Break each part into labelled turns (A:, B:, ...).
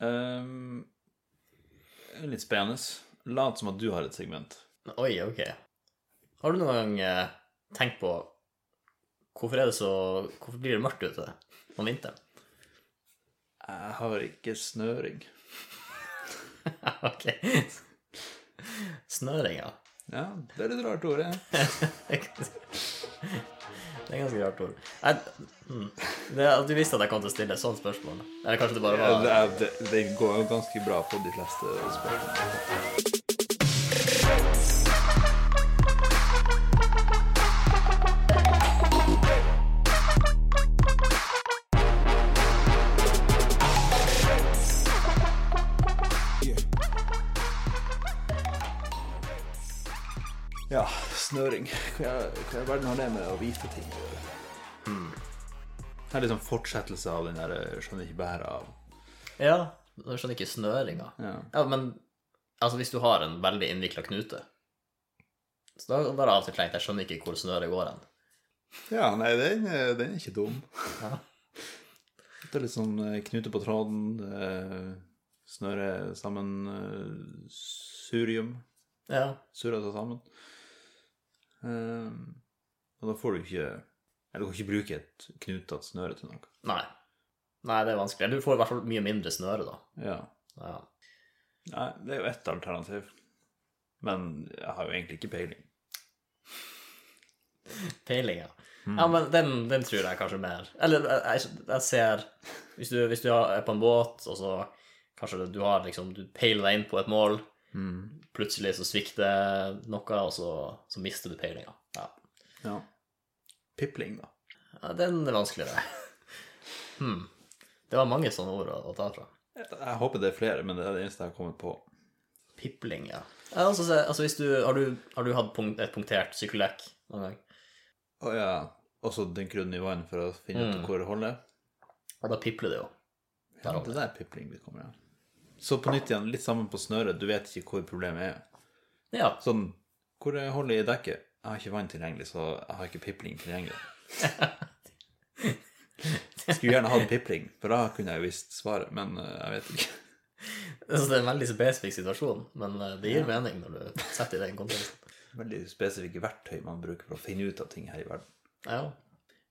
A: Ehm, litt spennende. Lat som at du har et segment.
B: Oi, ok. Har du noen gang eh, tenkt på hvorfor er det så Hvorfor blir det mørkt ute om vinteren?
A: Jeg har ikke snøring.
B: ok. Snøringa.
A: Ja, det er litt rart ord, det.
B: Det er ganske rart ord. Jeg, hmm. det, at du visste at jeg kom til å stille et sånt spørsmål. Eller kanskje det bare
A: Ja,
B: var
A: det, er- det, det går jo ganske bra på de fleste spørsmål. Ja, snøring. Hva hva i all verden har det med å vite ting å gjøre? Hmm. Det er liksom fortsettelse av den der eh, 'skjønner ikke bæret' av
B: Ja, jeg skjønner ikke snøringa.
A: ja.
B: Ja, men altså, hvis du har en veldig innvikla knute Så da har jeg av og til tenkt jeg skjønner ikke hvor snøret går hen.
A: Ja, nei, den, er- den er ikke dum.
B: Ja.
A: Det er litt sånn eh, knute på tråden, eh, snøre sammen eh, Surium.
B: Ja.
A: Surre seg sammen. Eh, Og da får du ikke Eller du kan ikke bruke et knutete snøre til noe.
B: Nei. Nei, det er vanskelig. Eller Du får i hvert fall mye mindre snøre, da.
A: Ja.
B: Ja.
A: Nei, det er jo ett alternativ. Men jeg har jo egentlig ikke peiling.
B: Peilinga. Ja, men den, den tror jeg kanskje mer Eller jeg, jeg- jeg ser Hvis du, hvis du er på en båt, og så kanskje du har liksom Du peiler deg inn på et mål, Mm. plutselig så svikter noe, og så, så mister du peilinga. Ja.
A: Ja. Pipling, da.
B: ja, den er vanskeligere. Hmm. Det var mange sånne ord å, å ta fra.
A: Jeg håper det er flere, men det er det eneste jeg har kommet på.
B: Pipling, ja. ja altså, se- altså, hvis du, har, du, har du hatt punkt, et punktert sykkeldekk noen gang?
A: Å ja. Og så dynker du den i vann for å finne ut hvor det holder.
B: Og da pipler det jo.
A: Mm. Ja, det der er pipling det kommer av. Så på nytt igjen, litt sammen på snøret. Du vet ikke hvor problemet er.
B: Ja.
A: Sånn Hvor er hullet i dekket? Jeg har ikke vann tilgjengelig, så jeg har ikke pipling tilgjengelig. Skulle gjerne hatt pipling, for da kunne jeg jo visst svaret, men eh, jeg vet ikke.
B: Så det er en veldig spesifikk situasjon, men eh, det gir mening når du setter det i den konteksten.
A: Veldig spesifikke verktøy man bruker for å finne ut av ting her i verden.
B: Ja.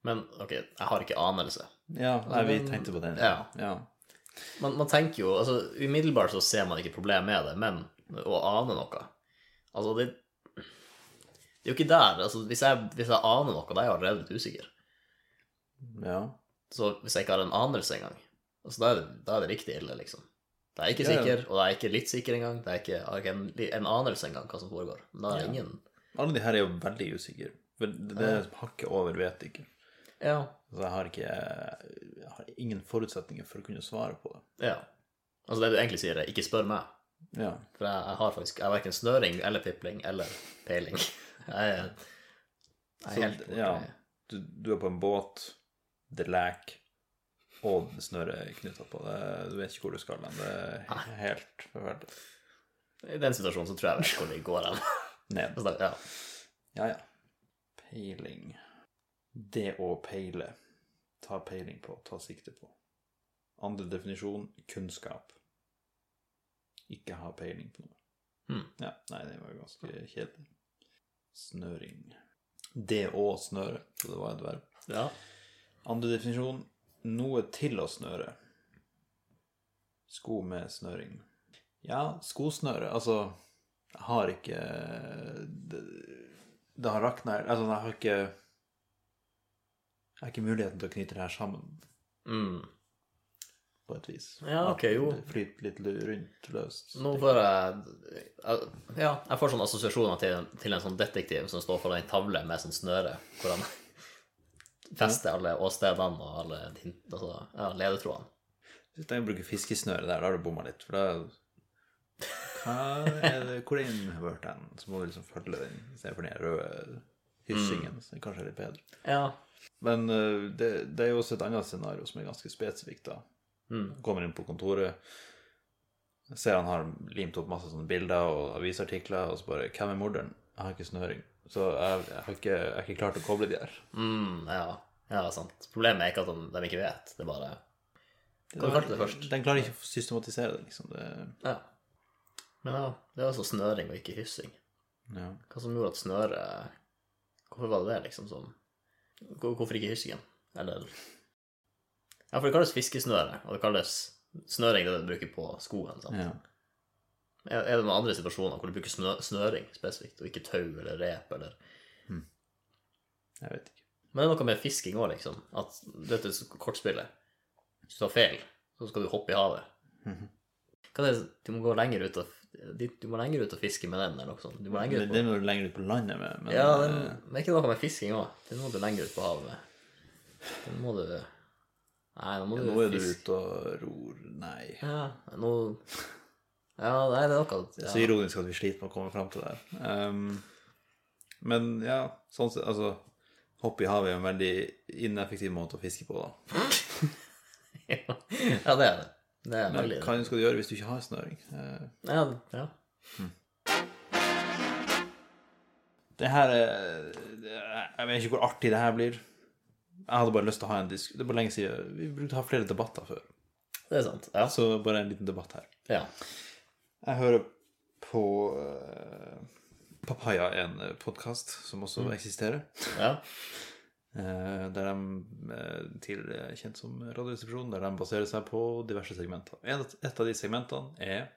B: Men ok, jeg har ikke anelse.
A: Ja, nei, vi tenkte på den.
B: Ja.
A: ja.
B: Man, man tenker jo altså Umiddelbart så ser man ikke problemet med det, men å ane noe Altså, det Det er jo ikke der. altså Hvis jeg, hvis jeg aner noe, da er jeg allerede litt usikker.
A: ja.
B: Så hvis jeg ikke har en anelse engang, altså, da, er det, da er det riktig ille, liksom. Da er jeg ikke
A: Ja, ja.
B: sikker, og da er jeg ikke litt sikker engang. Da er jeg ikke, jeg har ikke en, en anelse engang hva som foregår. Men da er det ingen
A: Alle de her er jo veldig usikre. For det, det som hakket over vet ikke.
B: Ja,
A: Så jeg har, ikke, jeg har ingen forutsetninger for å kunne svare på det.
B: Ja. Altså det du egentlig sier, er ikke spør meg.
A: Ja.
B: For jeg, jeg har faktisk Jeg har verken snøring eller pipling eller peiling. Jeg er, jeg er
A: Så,
B: helt borte.
A: ja, du, du er på en båt, det leker, og det snøret er knytta på. Det, du vet ikke hvor du skal hen. Det er helt forferdelig.
B: I den situasjonen så tror jeg jeg vet hvor det går hen.
A: Ned.
B: Altså, da- Ja.
A: Ja, ja. Peiling. Det å peile. Ta peiling på, ta sikte på. Andre definisjon kunnskap. Ikke ha peiling på noe.
B: Hmm.
A: Ja, nei, det var jo ganske kjedelig. Snøring. Det å snøre, så det var et verb.
B: ja.
A: Andre definisjon noe til å snøre. Sko med snøring. Ja, skosnøre Altså, jeg har ikke Det, det har rakna Altså, jeg har ikke Jeg har ikke muligheten til å knyte det her sammen
B: Mm.
A: på et vis.
B: Ja, ok, jo.
A: At Det flyter litt lø- rundt løst.
B: Nå får jeg Ja, jeg får sånne assosiasjoner til, til en sånn detektiv som står foran ei tavle med sånn snøre, hvor han fester alle åstedene og alle hint- altså, ja, ledetrådene.
A: Hvis jeg bruker fiskesnøre der, da har du bomma litt, for da Hva er det, Hvor er innhørt den? Så må du liksom følge den istedenfor den røde hyssingen,
B: Mm.
A: som kanskje er litt bedre.
B: Ja.
A: Men eh, det, det er jo også et annet scenario som er ganske spesifikt. da.
B: Mm.
A: Kommer inn på kontoret, ser han har limt opp masse sånne bilder og avisartikler, og så bare 'Hvem er morderen?' Jeg har ikke snøring. Så jeg, jeg, har ikke, jeg har ikke klart å koble de her.
B: Mm, ja. ja, sant. Problemet er ikke at de, de ikke vet, det er bare Hva kalte du det først?
A: Den klarer ikke å systematisere det, liksom. Det,
B: Ja. Men ja, det var altså snøring og ikke hyssing.
A: ja.
B: Hva som gjorde at snøre Hvorfor var det det, liksom, som Hvor- Hvorfor ikke hyssingen? Eller Ja, for det kalles fiskesnøre, og det kalles snøring det du bruker på skoen. sant?
A: ja.
B: Er er det noen andre situasjoner hvor du bruker snø, snøring spesifikt, og ikke tau eller rep eller
A: Jeg vet ikke.
B: Men det er noe med fisking òg, liksom. At dette er så- kortspillet. Hvis du tar feil, så skal du hoppe i havet.
A: Mhm.
B: Hva er det, du må gå lenger ut og de- Du må lenger ut og fiske med den, eller noe sånt. Du må lenger
A: Det,
B: ut på,
A: det må du lenger ut på landet med. Men,
B: ja,
A: eh,
B: den, men er ikke noe med fisking òg. Den må du lenger ut på havet med. Den må du Nei, nå må
A: eh, nå er
B: du
A: du
B: fiske
A: ute og ror Nei.
B: Ja, nå Ja, nei, det er noe
A: Det er
B: ja.
A: så ironisk at vi sliter med å komme fram til det her. Ehm, men ja, sånn sett, altså Hopp i havet er en veldig ineffektiv måte å fiske på, da.
B: ja, det er det. Det er
A: Men
B: veldig
A: hva skal du gjøre hvis du ikke har snøring? Eh,
B: Ja, ja.
A: Det her er Jeg vet ikke hvor artig det her blir. Jeg hadde bare lyst til å ha en disk... Det er bare lenge siden Vi brukte å ha flere debatter før.
B: Det er sant. Ja.
A: Så bare en liten debatt her.
B: ja.
A: Jeg hører på eh, Papaya, en podkast som også
B: Mm.
A: eksisterer.
B: ja.
A: eh, der de eh, tidligere er kjent som Radioresepsjonen, der de baserer seg på diverse segmenter. En- Et av de segmentene er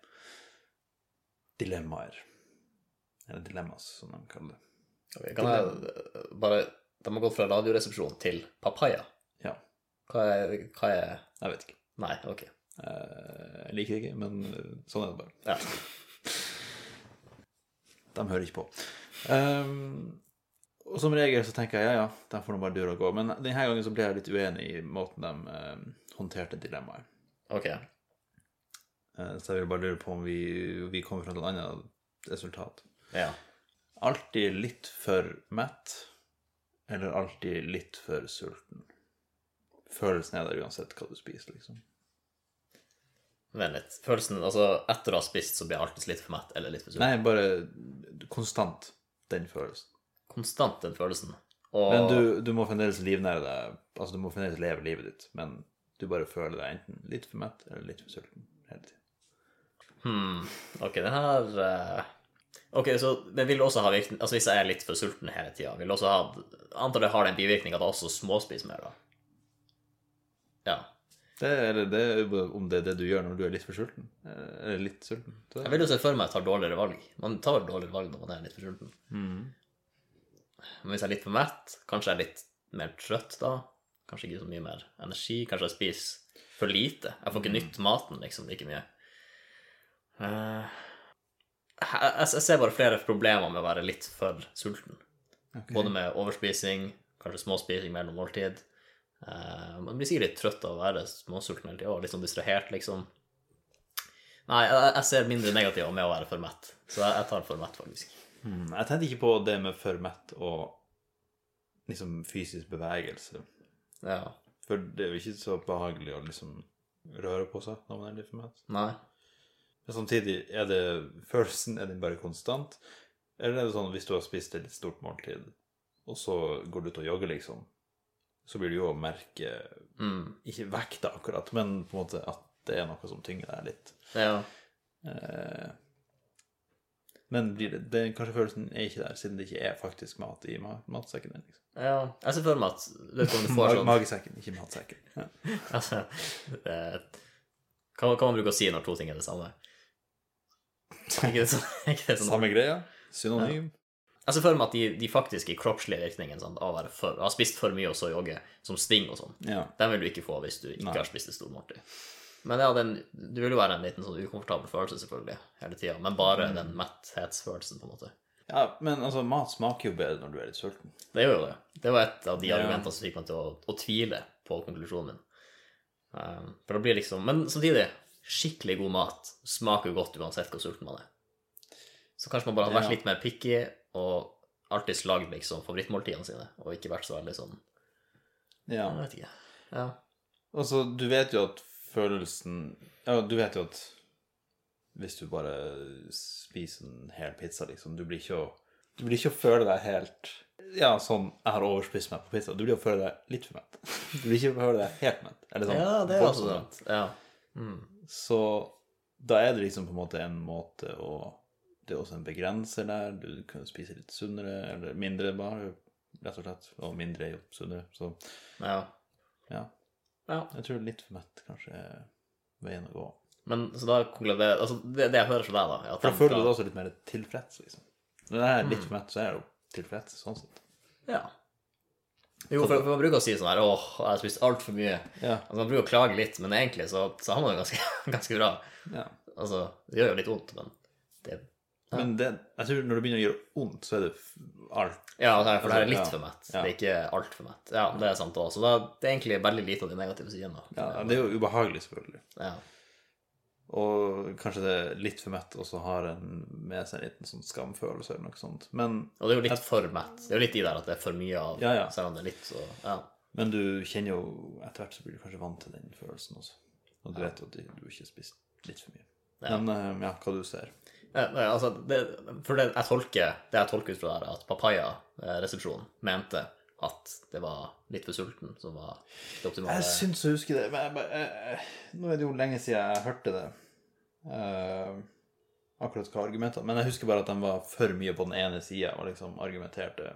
A: dilemmaer. Eller dilemmas, som de kaller det.
B: Ok, Kan jeg eh, bare De har gått fra radioresepsjon til papaya.
A: Ja.
B: Hva er, hva er
A: Jeg vet ikke.
B: Nei, ok.
A: Eh, Jeg liker det ikke, men eh, sånn er det bare.
B: Ja.
A: De hører ikke på. Ehm, og som regel så tenker jeg ja, ja, de får nå bare dura gå. Men denne gangen så ble jeg litt uenig i måten de eh, håndterte dilemmaet.
B: Ok.
A: Eh, så jeg vil bare lure på om vi, vi kommer fram til et annet resultat.
B: Ja.
A: Alltid litt for mett, eller alltid litt for sulten. Følelsen er der uansett hva du spiser, liksom.
B: Vent litt. Følelsen Altså, etter å ha spist, så blir jeg alltid litt for mett eller litt for sulten.
A: Nei, bare konstant den følelsen.
B: Konstant den følelsen. Og
A: Men du, du må fremdeles livnære deg, altså du må fremdeles leve livet ditt, men du bare føler deg enten litt for mett eller litt for sulten hele tiden.
B: hmm, Ok, den her eh, Ok, så den vil også ha virkning Altså, hvis jeg er litt for sulten hele tida, vil det også ha Antar det har den bivirkning at jeg også småspiser mer, da. Ja.
A: Det, eller det, er jo om det er det du gjør når du er litt for sulten, eh, eller litt sulten. Så,
B: Jeg vil jo se for meg at jeg tar dårligere valg. Man tar vel dårligere valg når man er litt for sulten.
A: Mm.
B: Men hvis jeg er litt for mett, kanskje jeg er litt mer trøtt da. Kanskje ikke så mye mer energi. Kanskje jeg spiser for lite. Jeg får ikke nytt maten liksom like mye. Eh, jeg, jeg- jeg ser bare flere problemer med å være litt for sulten.
A: Ok.
B: Både med overspising, kanskje småspising mellom måltid. Eh, man blir sikkert litt trøtt av å være småsulten hele tida, og litt sånn distrahert, liksom. Nei, jeg, jeg ser mindre negativt med å være for mett, så jeg, jeg tar for mett, faktisk.
A: Mm, Jeg tenkte ikke på det med for mett og liksom fysisk bevegelse,
B: Ja.
A: for det er jo ikke så behagelig å liksom røre på seg når man er litt for mett.
B: Nei.
A: Men samtidig, er det følelsen er den bare konstant? Eller er det sånn hvis du har spist et litt stort måltid, og så går du ut og jogger, liksom, så vil du jo merke
B: Mm.
A: Ikke vekta akkurat, men på en måte at det er noe som tynger deg litt.
B: Ja.
A: Eh, Men blir det, det kanskje følelsen er ikke der, siden det ikke er faktisk mat i ma- matsekken din. liksom.
B: Ja, jeg ser for meg at du vet hvordan du får
A: Mag
B: sånn
A: magesekken, ikke matsekken. Ja.
B: altså, eh, hva, hva man bruker å si når to ting er det samme? Ikke det sånn? Ikke det sånn?
A: Samme greia, synonym.
B: Jeg ser for meg at de, de faktiske kroppslige virkningene sant, av å være for, ha spist for mye og så jogge, som sting og sånn,
A: Ja.
B: den vil du ikke få hvis du ikke
A: Nei.
B: har spist et stort måltid. Men ja, den, det vil jo være en liten sånn ukomfortabel følelse selvfølgelig, hele tida, men bare
A: Mm.
B: den metthetsfølelsen, på en måte.
A: ja, men altså, mat smaker jo bedre når du er litt sulten.
B: Det gjør jo det. Det var et av de
A: Ja.
B: argumentene som fikk meg til å, å tvile på konklusjonen min. Um, for det blir liksom Men samtidig, skikkelig god mat smaker jo godt uansett hvor sulten man er. Så kanskje man bare hadde vært
A: Ja.
B: litt mer picky og alltid lagd liksom favorittmåltidene sine, og ikke vært så veldig sånn
A: Ja.
B: Jeg vet ikke. Ja.
A: Altså, du vet jo at følelsen Ja, du vet jo at hvis du bare spiser en hel pizza, liksom Du blir ikke å Du blir ikke å føle deg helt Ja, sånn Jeg har overspist meg på pizza. Du blir å føle deg litt for mett. Du blir ikke å føle deg helt mett. Eller sånn
B: Ja, det er altså
A: voldsomt
B: også
A: mett.
B: sant. Ja. Mm.
A: Så da er det liksom på en måte en måte å Det er også en begrenser der. Du kan spise litt sunnere, eller mindre bare, rett og slett. Og mindre er jo sunnere. Så
B: ja.
A: ja,
B: ja.
A: jeg tror litt for mett kanskje er veien å gå.
B: Men så da konkluderer Altså, det, det jeg hører fra deg, da er
A: For
B: at de
A: da føler
B: skal-
A: du deg også litt mer tilfreds, liksom. Når jeg er litt for mett, så er jeg jo tilfreds sånn sett.
B: Ja. Jo, for, for man bruker å si sånn her åh, jeg har spist altfor mye.
A: Ja.
B: Altså, man bruker å klage litt, men egentlig så, så har man det ganske, ganske bra.
A: ja.
B: Altså, det gjør jo litt vondt, men det
A: Men det, jeg tror når det begynner å gjøre vondt, så er det f- alt.
B: Ja, altså, for det her
A: Ja.
B: er litt for mett.
A: Ja.
B: Det er ikke altfor mett. Ja, det er sant òg. Så da, det er egentlig veldig lite av de negative sidene.
A: Ja, det er jo ubehagelig, selvfølgelig.
B: Ja.
A: Og kanskje det er litt for mett, og så har en med seg en liten sånn skamfølelse eller noe sånt. Men,
B: Og det er jo litt for mett. Det er jo litt i der at det er for mye av,
A: Ja, ja.
B: selv om det er litt så Ja.
A: men du kjenner jo Etter hvert så blir du kanskje vant til den følelsen også. Og du vet at du du ikke har spist litt for mye.
B: Ja.
A: Men eh, ja, hva du ser.
B: Ja, nei, altså, det, for det jeg tolker det jeg tolker ut fra det her, at papaya-resepsjonen mente at det var litt for sulten som var det optimale.
A: Jeg syns jeg husker det, men jeg, bare- jeg, jeg, nå er det jo lenge siden jeg hørte det. Eh, akkurat hva argumentene Men jeg husker bare at de var for mye på den ene sida og liksom argumenterte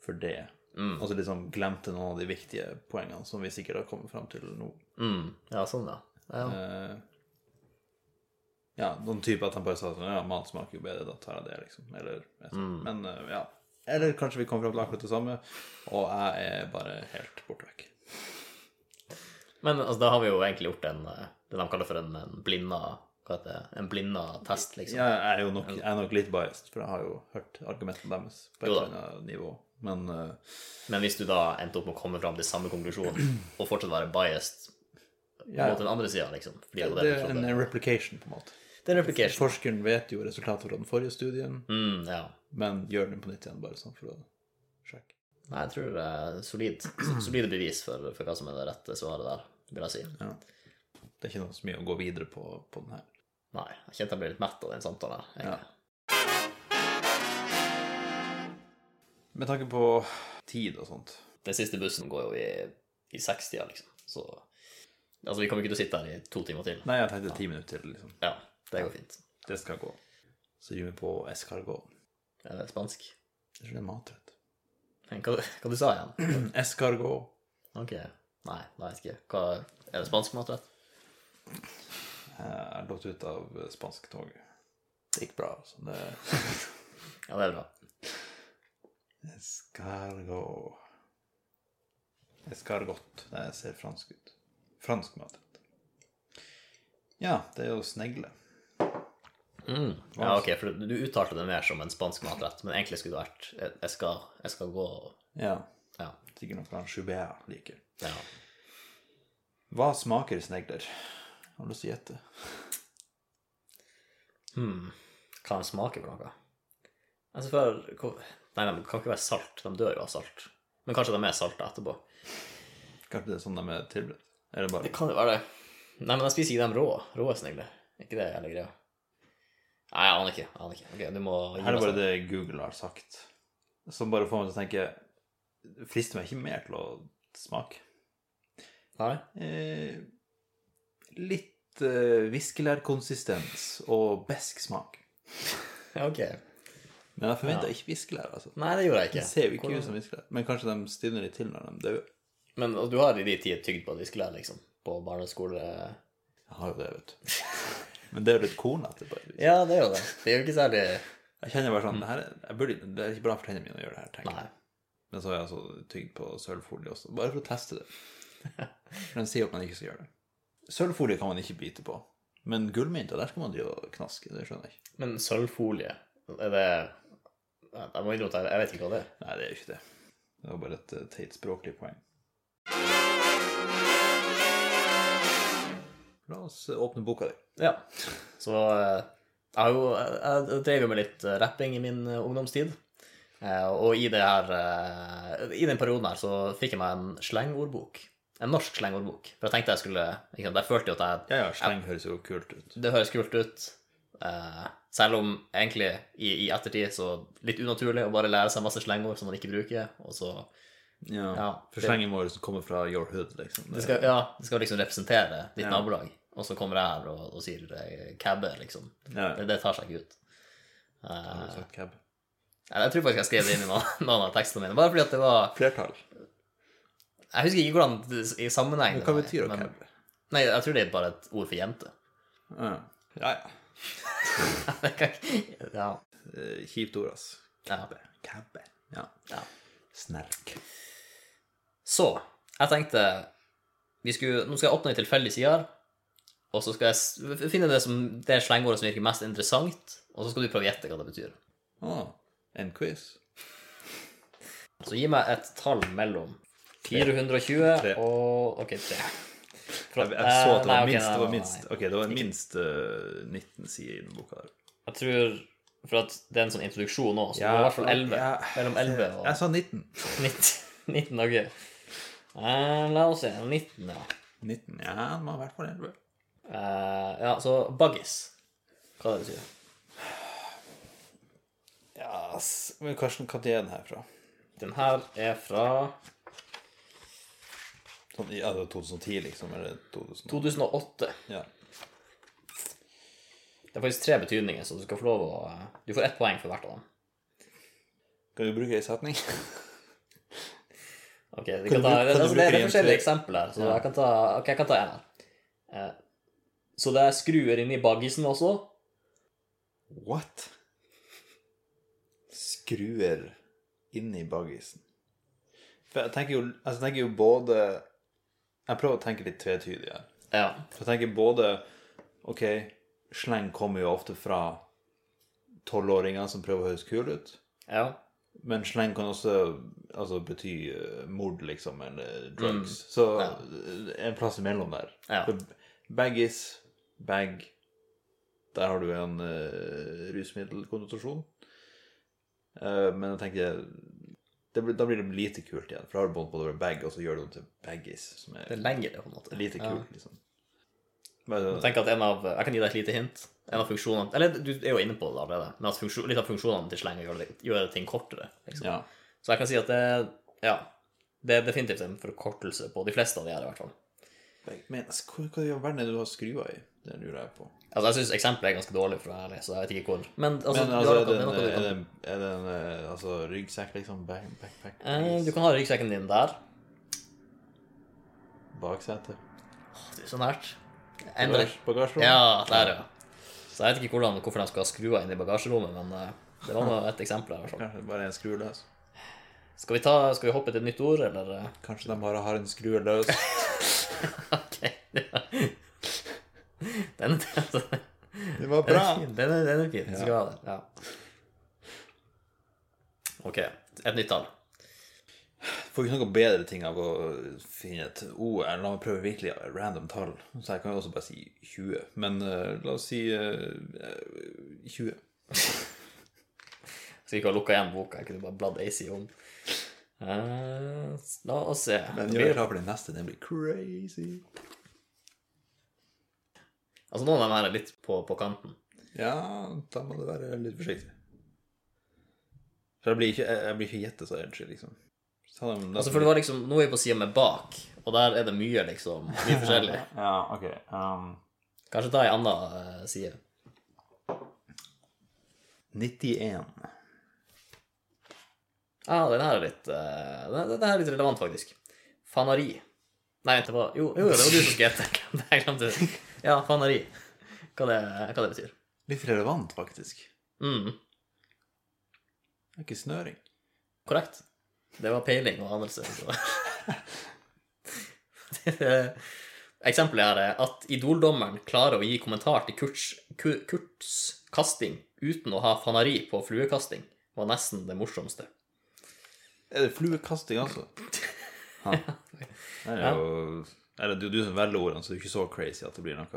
A: for det.
B: Mm.
A: Og så liksom glemte noen av de viktige poengene som vi sikkert har kommet fram til nå.
B: Mm, ja, sånn, ja. ja.
A: Eh, ja, noen type at de bare sa sånn Ja, mat smaker jo bedre, da tar jeg det, liksom. Eller Men eh, ja. Eller kanskje vi kom fram til akkurat det samme, og jeg er bare helt borte vekk.
B: Men altså, da har vi jo egentlig gjort en, eh, det de kaller for en, en blinda hva heter det? En blinda test, liksom.
A: Ja, jeg er jo nok, jeg er nok litt biased, for jeg har jo hørt argumentene deres på et
B: Jo da.
A: eller annet nivå. Men eh,
B: Men hvis du da endte opp med å komme fram til samme konklusjon, og fortsatt være biased
A: ja,
B: mot den andre sida, liksom fordi det, var
A: det
B: det,
A: er
B: du
A: en
B: trodde.
A: replication, på en måte.
B: det er en replication.
A: Forskeren vet jo resultatet fra den forrige studien,
B: Mm, ja.
A: men gjør den på nytt igjen, bare sånn for å sjekke.
B: Nei, jeg tror det er solid, solide bevis for, for hva som er det rette svaret der, vil jeg si.
A: Ja. Det er ikke noe så mye å gå videre på på den her.
B: Nei, jeg kjente jeg ble litt mett av den samtalen. her, egentlig.
A: Med tanke på tid og sånt
B: Den siste bussen går jo i, i 60 liksom. Så altså, vi kommer ikke til å sitte her i to timer til.
A: Nei, jeg tenkte ti minutter til, liksom.
B: Ja, det går fint.
A: Det skal gå. Så gir vi på escargot.
B: Er det Eh, spansk?
A: Jeg tror det er en matrett.
B: Hva, hva du sa igjen?
A: Escargot.
B: Ok. Nei, nei, jeg vet ikke. Hva, er det spansk matrett?
A: Jeg er lånt ut av spansktoget. Det gikk bra, altså. Det
B: Ja, det er bra.
A: Escargot Escargot. Det ser fransk ut. Fransk matrett. Ja, det er jo snegle.
B: Ja, ok, for du, du uttalte det mer som en spansk matrett, men egentlig skulle det vært eh, Jeg skal, jeg skal gå og-
A: Ja,
B: Ja.
A: sikkert noe han Joubert liker.
B: ja.
A: Hva smaker snegler? Har du lyst til å gjette?
B: Hmm. Hva de smaker for noe? Altså, for hvor- Nei, de kan ikke være salt. De dør jo av salt. Men kanskje de er salta etterpå.
A: Kanskje det er sånn de er tilberedt? Eller bare
B: Det kan jo være det. Nei, men jeg spiser ikke dem rå. Rå er snegle. Ikke det hele greia. Nei, jeg aner ikke. Jeg aner ikke. Ok, du må gi
A: Her er
B: meg
A: bare
B: sånn.
A: det Google har sagt, som bare får meg til å tenke Frister meg ikke mer til å smake?
B: Nei?
A: Eh, litt eh, viskelærkonsistens og besk smak.
B: Ja, Ok.
A: Men jeg forventa ikke viskelær. altså.
B: Nei, det gjorde jeg ikke.
A: De ser jo ikke
B: Hvordan-
A: ut som viskelær. Men kanskje de stivner litt til når de dør.
B: Men og du har i de tider tygd på viskelær, liksom? På barneskole...
A: Jeg har jo det, vet du. Men det er jo litt kornete, på et vis.
B: Ja, det er jo det. Det er jo ikke særlig
A: Jeg kjenner bare sånn det, her, er- jeg burde, det er ikke bra for tennene mine å gjøre det her, tenker jeg.
B: Nei.
A: Men så har jeg altså tygd på sølvfolie også, bare for å teste det. For de sier at man ikke skal gjøre det. Sølvfolie kan man ikke bite på. Men gullmynter, der skal man drive og knaske. Det skjønner jeg ikke.
B: Men sølvfolie, er det Jeg må innrømme at jeg- jeg vet ikke hva det er.
A: Nei, det er jo ikke det. Det var bare et eh, teit språklig poeng. La oss eh, åpne boka di.
B: Ja. Så eh, jeg, har jo, jeg jeg drev jo med litt eh, rapping i min eh, ungdomstid. Eh, Og i, det her, eh, i den perioden her så fikk jeg meg en slengordbok. En norsk slengordbok. For jeg tenkte jeg skulle ikke sant, Jeg følte jo at jeg
A: Ja, ja, sleng høres jo kult ut.
B: Det høres kult ut. Eh, selv om egentlig i, i ettertid så litt unaturlig å bare lære seg masse slengord som man ikke bruker, og så
A: Ja.
B: Ja,
A: For
B: det-
A: slengen vår som kommer fra your hood, liksom.
B: Det skal, ja, det skal liksom representere ditt
A: Ja.
B: nabolag, og så kommer jeg her og, og sier eh, cabbe, liksom.
A: ja,
B: Det, det tar seg ikke ut. Eh,
A: har du sagt cab?
B: Nei, Jeg tror faktisk jeg skrev det inn i noen, noen av tekstene mine. Bare fordi at det var
A: Flertall.
B: Jeg husker ikke hvordan det, i sammenheng
A: Men
B: det
A: hva
B: var i,
A: betyr å
B: men-
A: cab?
B: Nei, jeg tror det er bare et ord for jente.
A: Ja, ja. ja.
B: ja.
A: Eh, Kjipt ord, ass.
B: ja.
A: Cabbe. Ja.
B: Ja.
A: Snerk.
B: Så jeg tenkte vi skulle, Nå skal jeg åpne en tilfeldig side her, og så skal jeg s- finne det, som, det slengordet som virker mest interessant, og så skal du prøve å gjette hva det betyr.
A: Ah, en quiz.
B: Så gi meg et tall mellom 420
A: Tre.
B: og OK, 3.
A: Jeg, jeg så at det
B: Nei,
A: var
B: ok,
A: minst.
B: nei,
A: Det var
B: nei,
A: minst.
B: nei.
A: Ok, det var minst eh, 19 sider i den boka der.
B: Jeg tror For at det er en sånn introduksjon nå, så det var i hvert fall 11.
A: ja.
B: Mellom 11 og
A: Jeg sa 19.
B: 19. 19 ok. Eh, la oss se. 19, ja.
A: 19, ja, det var i hvert fall 11.
B: Eh, ja, så baggis. Hva det betyr
A: Ja, s- men Karsten, hva er den her fra?
B: Den her er fra
A: Sånn, ja, det var 2010, liksom? Eller 2000?
B: 2008.
A: Ja.
B: Det er faktisk tre betydninger, så du skal få lov å Du får ett poeng for hvert av dem.
A: Kan du bruke det i setning?
B: Ok,
A: Kan
B: vi kan
A: du bruke-
B: ta,
A: kan du
B: altså, det, det
A: bruke
B: er
A: en
B: forskjellige
A: til?
B: eksempler her, så jeg kan ta Ok, jeg kan ta en her. Eh, så det er skruer inni baggisen også.
A: What? Skruer inn i baggisen. For jeg tenker jo, altså, jeg tenker jo både Jeg prøver å tenke litt tvetydig her.
B: Ja.
A: For jeg tenker både Ok, sleng kommer jo ofte fra tolvåringer som prøver å høres kule ut.
B: ja.
A: Men sleng kan også altså, bety eh, mord, liksom, eller drugs. Så eh, en plass imellom der.
B: Mm. Ja.
A: For Baggis, bag Der har du en eh, rusmiddelkonnotasjon. Eh, men jeg tenker det blir, Da blir det lite kult igjen. For da har du bånd på det over bag, og så gjør du det om til baggis. Som er
B: Det er lengre, på en måte.
A: lite
B: Ja.
A: kult, liksom. Men,
B: Jeg tenker at en av, jeg kan gi deg et lite hint. En av funksjonene Eller du er jo inne på det allerede, men at funksjon, litt av funksjonene til sleng er å gjøre det- gjøre ting kortere. Liksom.
A: ja.
B: Så jeg kan si at det Ja. Det er definitivt en forkortelse på de fleste av de her, i hvert fall.
A: Men altså, hva, hva i all verden er det du har skrua i? Det lurer jeg på.
B: Altså, jeg syns eksempelet er ganske dårlig, for å være ærlig, så jeg vet ikke hvor Men altså,
A: Men
B: du,
A: altså,
B: har
A: er det
B: noe, det er
A: en,
B: noe du
A: er
B: kan
A: det en, er det en eh, altså, ryggsekk, liksom? Back, backpack?
B: Eh, Du
A: baggis,
B: kan ha ryggsekken din der.
A: Baksete?
B: Det er så nært. Sånn Endre.
A: Bagasje- Bagasjerom?
B: Ja, der, ja. Så jeg vet ikke hvordan, hvorfor de skal ha skrua inn i bagasjerommet, men eh, det var nå et eksempel. her i hvert fall.
A: Kanskje det bare er en skru løs?
B: Skal vi, ta, skal vi hoppe til et nytt ord, eller? eh?
A: Kanskje de bare har en skrue løs?
B: Ok. ja. Den, den,
A: Det var
B: den er fin. Den er, den er fin. Du skal ha den. Ja. Ok. Et nytt tall.
A: Får ikke noe bedre ting av å finne et O, eller la meg prøve virkelig et random tall. Så jeg kan jo også bare si 20. Men eh, la oss si eh, 20.
B: Skal ikke ha lukka igjen boka. Jeg kunne bare bladd ei side om. Eh, la oss se.
A: Men gjør deg klar for den neste, den blir crazy.
B: Altså, noen av dem her er litt på, på kanten.
A: Ja, da må du være litt forsiktig. For jeg blir ikke, jeg, jeg blir ikke gjettet så edgy, liksom. Ta dem
B: Altså, for det var liksom, Nå er vi på sida med bak, og der er det mye liksom, mye forskjellig.
A: Ja, ok. Um,
B: Kanskje ta ei anna eh, side.
A: 91.
B: Ja, ah, den her er litt eh, den, den her er litt relevant, faktisk. Fanari. Nei, det var Jo, jo det var du som skulle gjette. Jeg glemte det. Ja, fanari. Hva det, hva det betyr.
A: Litt relevant, faktisk.
B: Mm,
A: Det er ikke snøring.
B: korrekt. Det var peiling og anelse. Så. Det- Eksempelet her er at Idol-dommeren klarer å gi kommentar til Kurts, Ku- Kurts kasting uten å ha fanari på fluekasting, var nesten det morsomste.
A: Er det fluekasting, altså? Ha. Det er jo Eller det er jo du som velger ordene, så det er ikke så crazy at det blir noe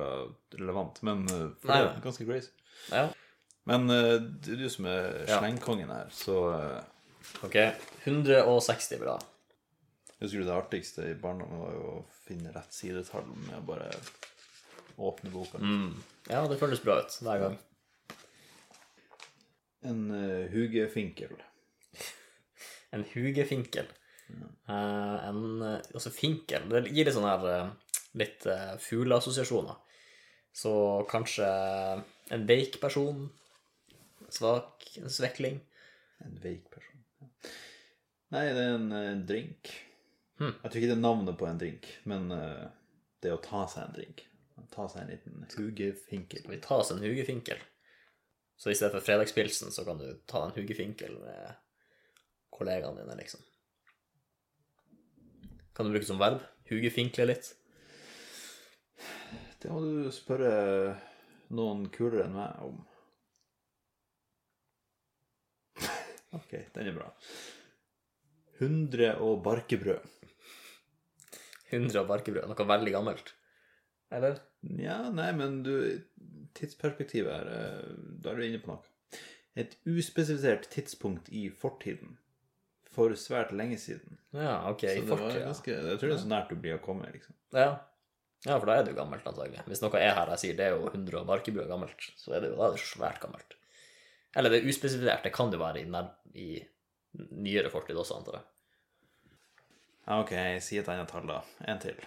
A: relevant. Men eh, for det
B: Nei, nei.
A: er ganske crazy.
B: Ja.
A: Men eh, det er du som er
B: Ja.
A: slengkongen her, så eh,
B: Ok, 160 bra.
A: Jeg husker det artigste i barndommen var jo å finne rett sidetall med å bare åpne boka.
B: Ja, det føles bra ut hver gang.
A: En eh, hugefinkel.
B: En hugefinkel.
A: Mm.
B: Eh, en eh, Altså, finkel Det gir litt sånne her eh, litt eh, fugleassosiasjoner. Så kanskje en veik person. Svak. En svekling.
A: En veik person. Nei, det er en eh, drink.
B: Hmm.
A: Jeg tror ikke det er navnet på en drink, men eh, det er å ta seg en drink. Ta seg en liten hugefinkel.
B: Skal vi ta oss en hugefinkel? Så i stedet for fredagspilsen, så kan du ta en hugefinkel med kollegaene dine, liksom. Kan du bruke som verb? Hugefinkle litt?
A: Det må du spørre eh, noen kulere enn meg om. Ok, den er bra. 100 og barkebrød.
B: 100 av barkebrød. Noe veldig gammelt. Eller?
A: Ja, nei, men du Tidsperspektivet her, eh, da er du inne på noe. Et uspesifisert tidspunkt i fortiden. For svært lenge siden.
B: Ja, OK.
A: Så
B: I
A: det var
B: fortida.
A: ganske, jeg tror det er så nært du blir å komme, liksom.
B: Ja. ja, for da er det jo gammelt, antagelig. Hvis noe er her jeg sier det er jo 100 og barkebrød gammelt, så er det jo da er det svært gammelt. Eller det er uspesifisert. Det kan det jo være i, nær, i nyere fortid også, antar
A: Ja,
B: jeg.
A: Ah, ok, si et annet tall, da. En til.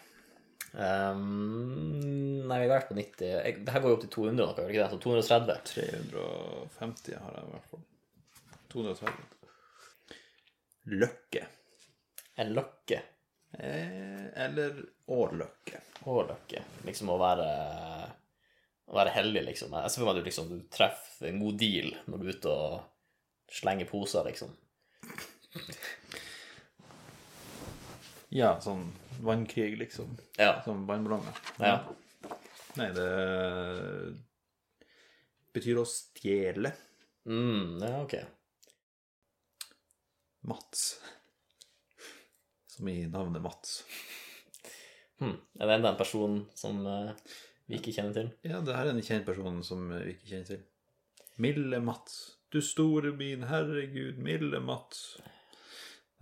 B: Ehm, nei, vi har vært på 90 jeg, Det her går jo opp til 200 noe, gjør det ikke det? Så 230.
A: 350 har jeg i hvert fall. 230. Løkke.
B: En løkke.
A: Eh, Eller årløkke.
B: Hårløkke. Liksom å være å være heldig, liksom. Jeg ser for meg at du liksom du treffer en god deal når du er ute og slenger poser, liksom.
A: Ja, sånn vannkrig, liksom.
B: Ja.
A: Som vannballonger.
B: ja.
A: Nei, det betyr å stjele.
B: Mm, ja, ok.
A: Mats. Som i navnet Mats.
B: Hm. Er det enda en person som eh, vi ikke kjenner til?
A: Ja, det her er en kjent person som vi ikke kjenner til. Milde Mats. Du store min, herregud, milde Mats.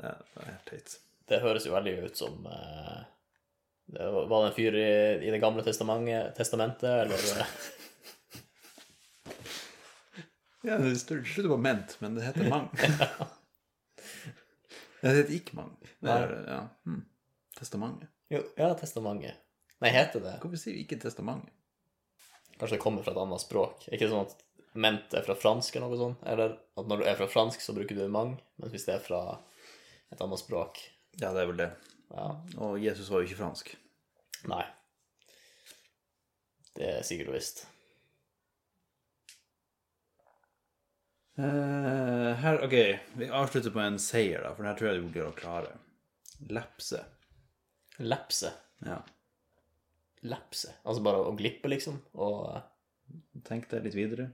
A: Det er helt teit.
B: Det høres jo veldig ut som eh, det var var det en fyr i, i Det gamle testamentet, testamentet eller eh,
A: Ja, det står- det slutter på ment, men det heter mang. det heter ikke mang. Det er, ja. hm. Testamentet.
B: Jo, ja, testamentet. Nei, heter det
A: Hvorfor sier vi ikke testamentet?
B: Kanskje det kommer fra et annet språk? Er ikke det sånn at ment er fra fransk eller noe sånt? Eller at når du er fra fransk, så bruker du mang, mens hvis det er fra et annet språk
A: Ja, det er vel det.
B: Ja,
A: Og Jesus var jo ikke fransk.
B: nei. Det er sikkert og visst.
A: Eh, her, ok, vi avslutter på en seier, da, for den her tror jeg du blir å klare. Lepse.
B: Lepse.
A: Ja.
B: Lepse. Altså bare å glippe, liksom. Og
A: Tenk deg litt videre.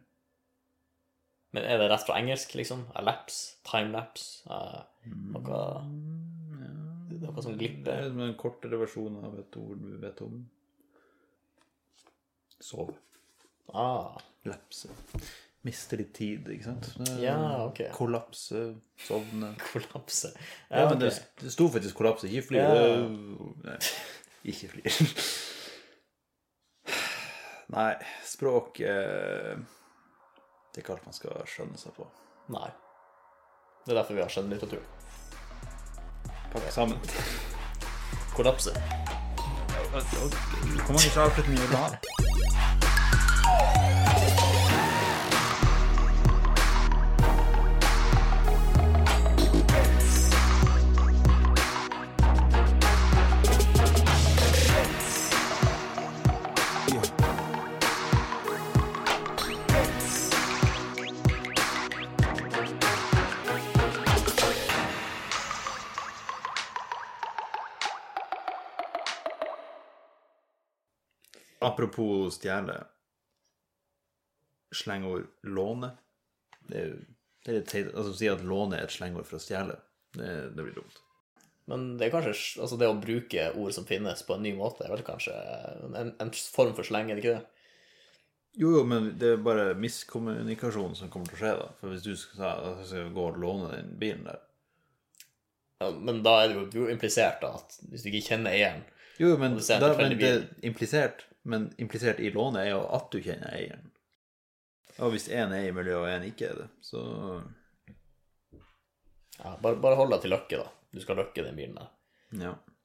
B: Men er det rett fra engelsk, liksom? A lapse? Timelapse? Uh, noe,
A: Mm,
B: noe som
A: Det er
B: glipper?
A: som en kortere versjon av et ord du vet om. Sov.
B: Ah,
A: Lepse. Miste litt tid, ikke sant? Det-
B: Ja, ok.
A: Kollapse, sovne.
B: kollapse.
A: Ja,
B: Ja,
A: men
B: ok.
A: det, det sto faktisk kollapse, ikke flyr.
B: Ja.
A: Det- Nei, ikke flyr. Nei, språk eh, Det er ikke alt man skal skjønne seg på.
B: Nei. Det er derfor vi har skjønnlitteratur.
A: Pakk sammen.
B: Kollapse.
A: Hvor mange avslutninger vil du ha? Apropos stjele. Slengord låne. Det er jo det er litt teit. Altså, å si at låne er et slengord for å stjele, det, det blir dumt.
B: Men det er kanskje altså det å bruke ord som finnes, på en ny måte, er vel kanskje en, en form for sleng, er det ikke det?
A: Jo, jo, men det er bare miskommunikasjon som kommer til å skje, da. For hvis du skal, sa, at jeg skal gå og låne den bilen der
B: Ja, men da er det jo- det er jo implisert da, at hvis du ikke kjenner eieren
A: Jo, jo, men,
B: Og du ser en
A: da, men
B: tilfeldig
A: det er implisert. Men implisert i lånet er jo at du kjenner eieren. Og hvis én er i miljøet og én ikke er det, så
B: Ja, bare, bare hold deg til løkke, da. Du skal løkke den bilen der.
A: ja.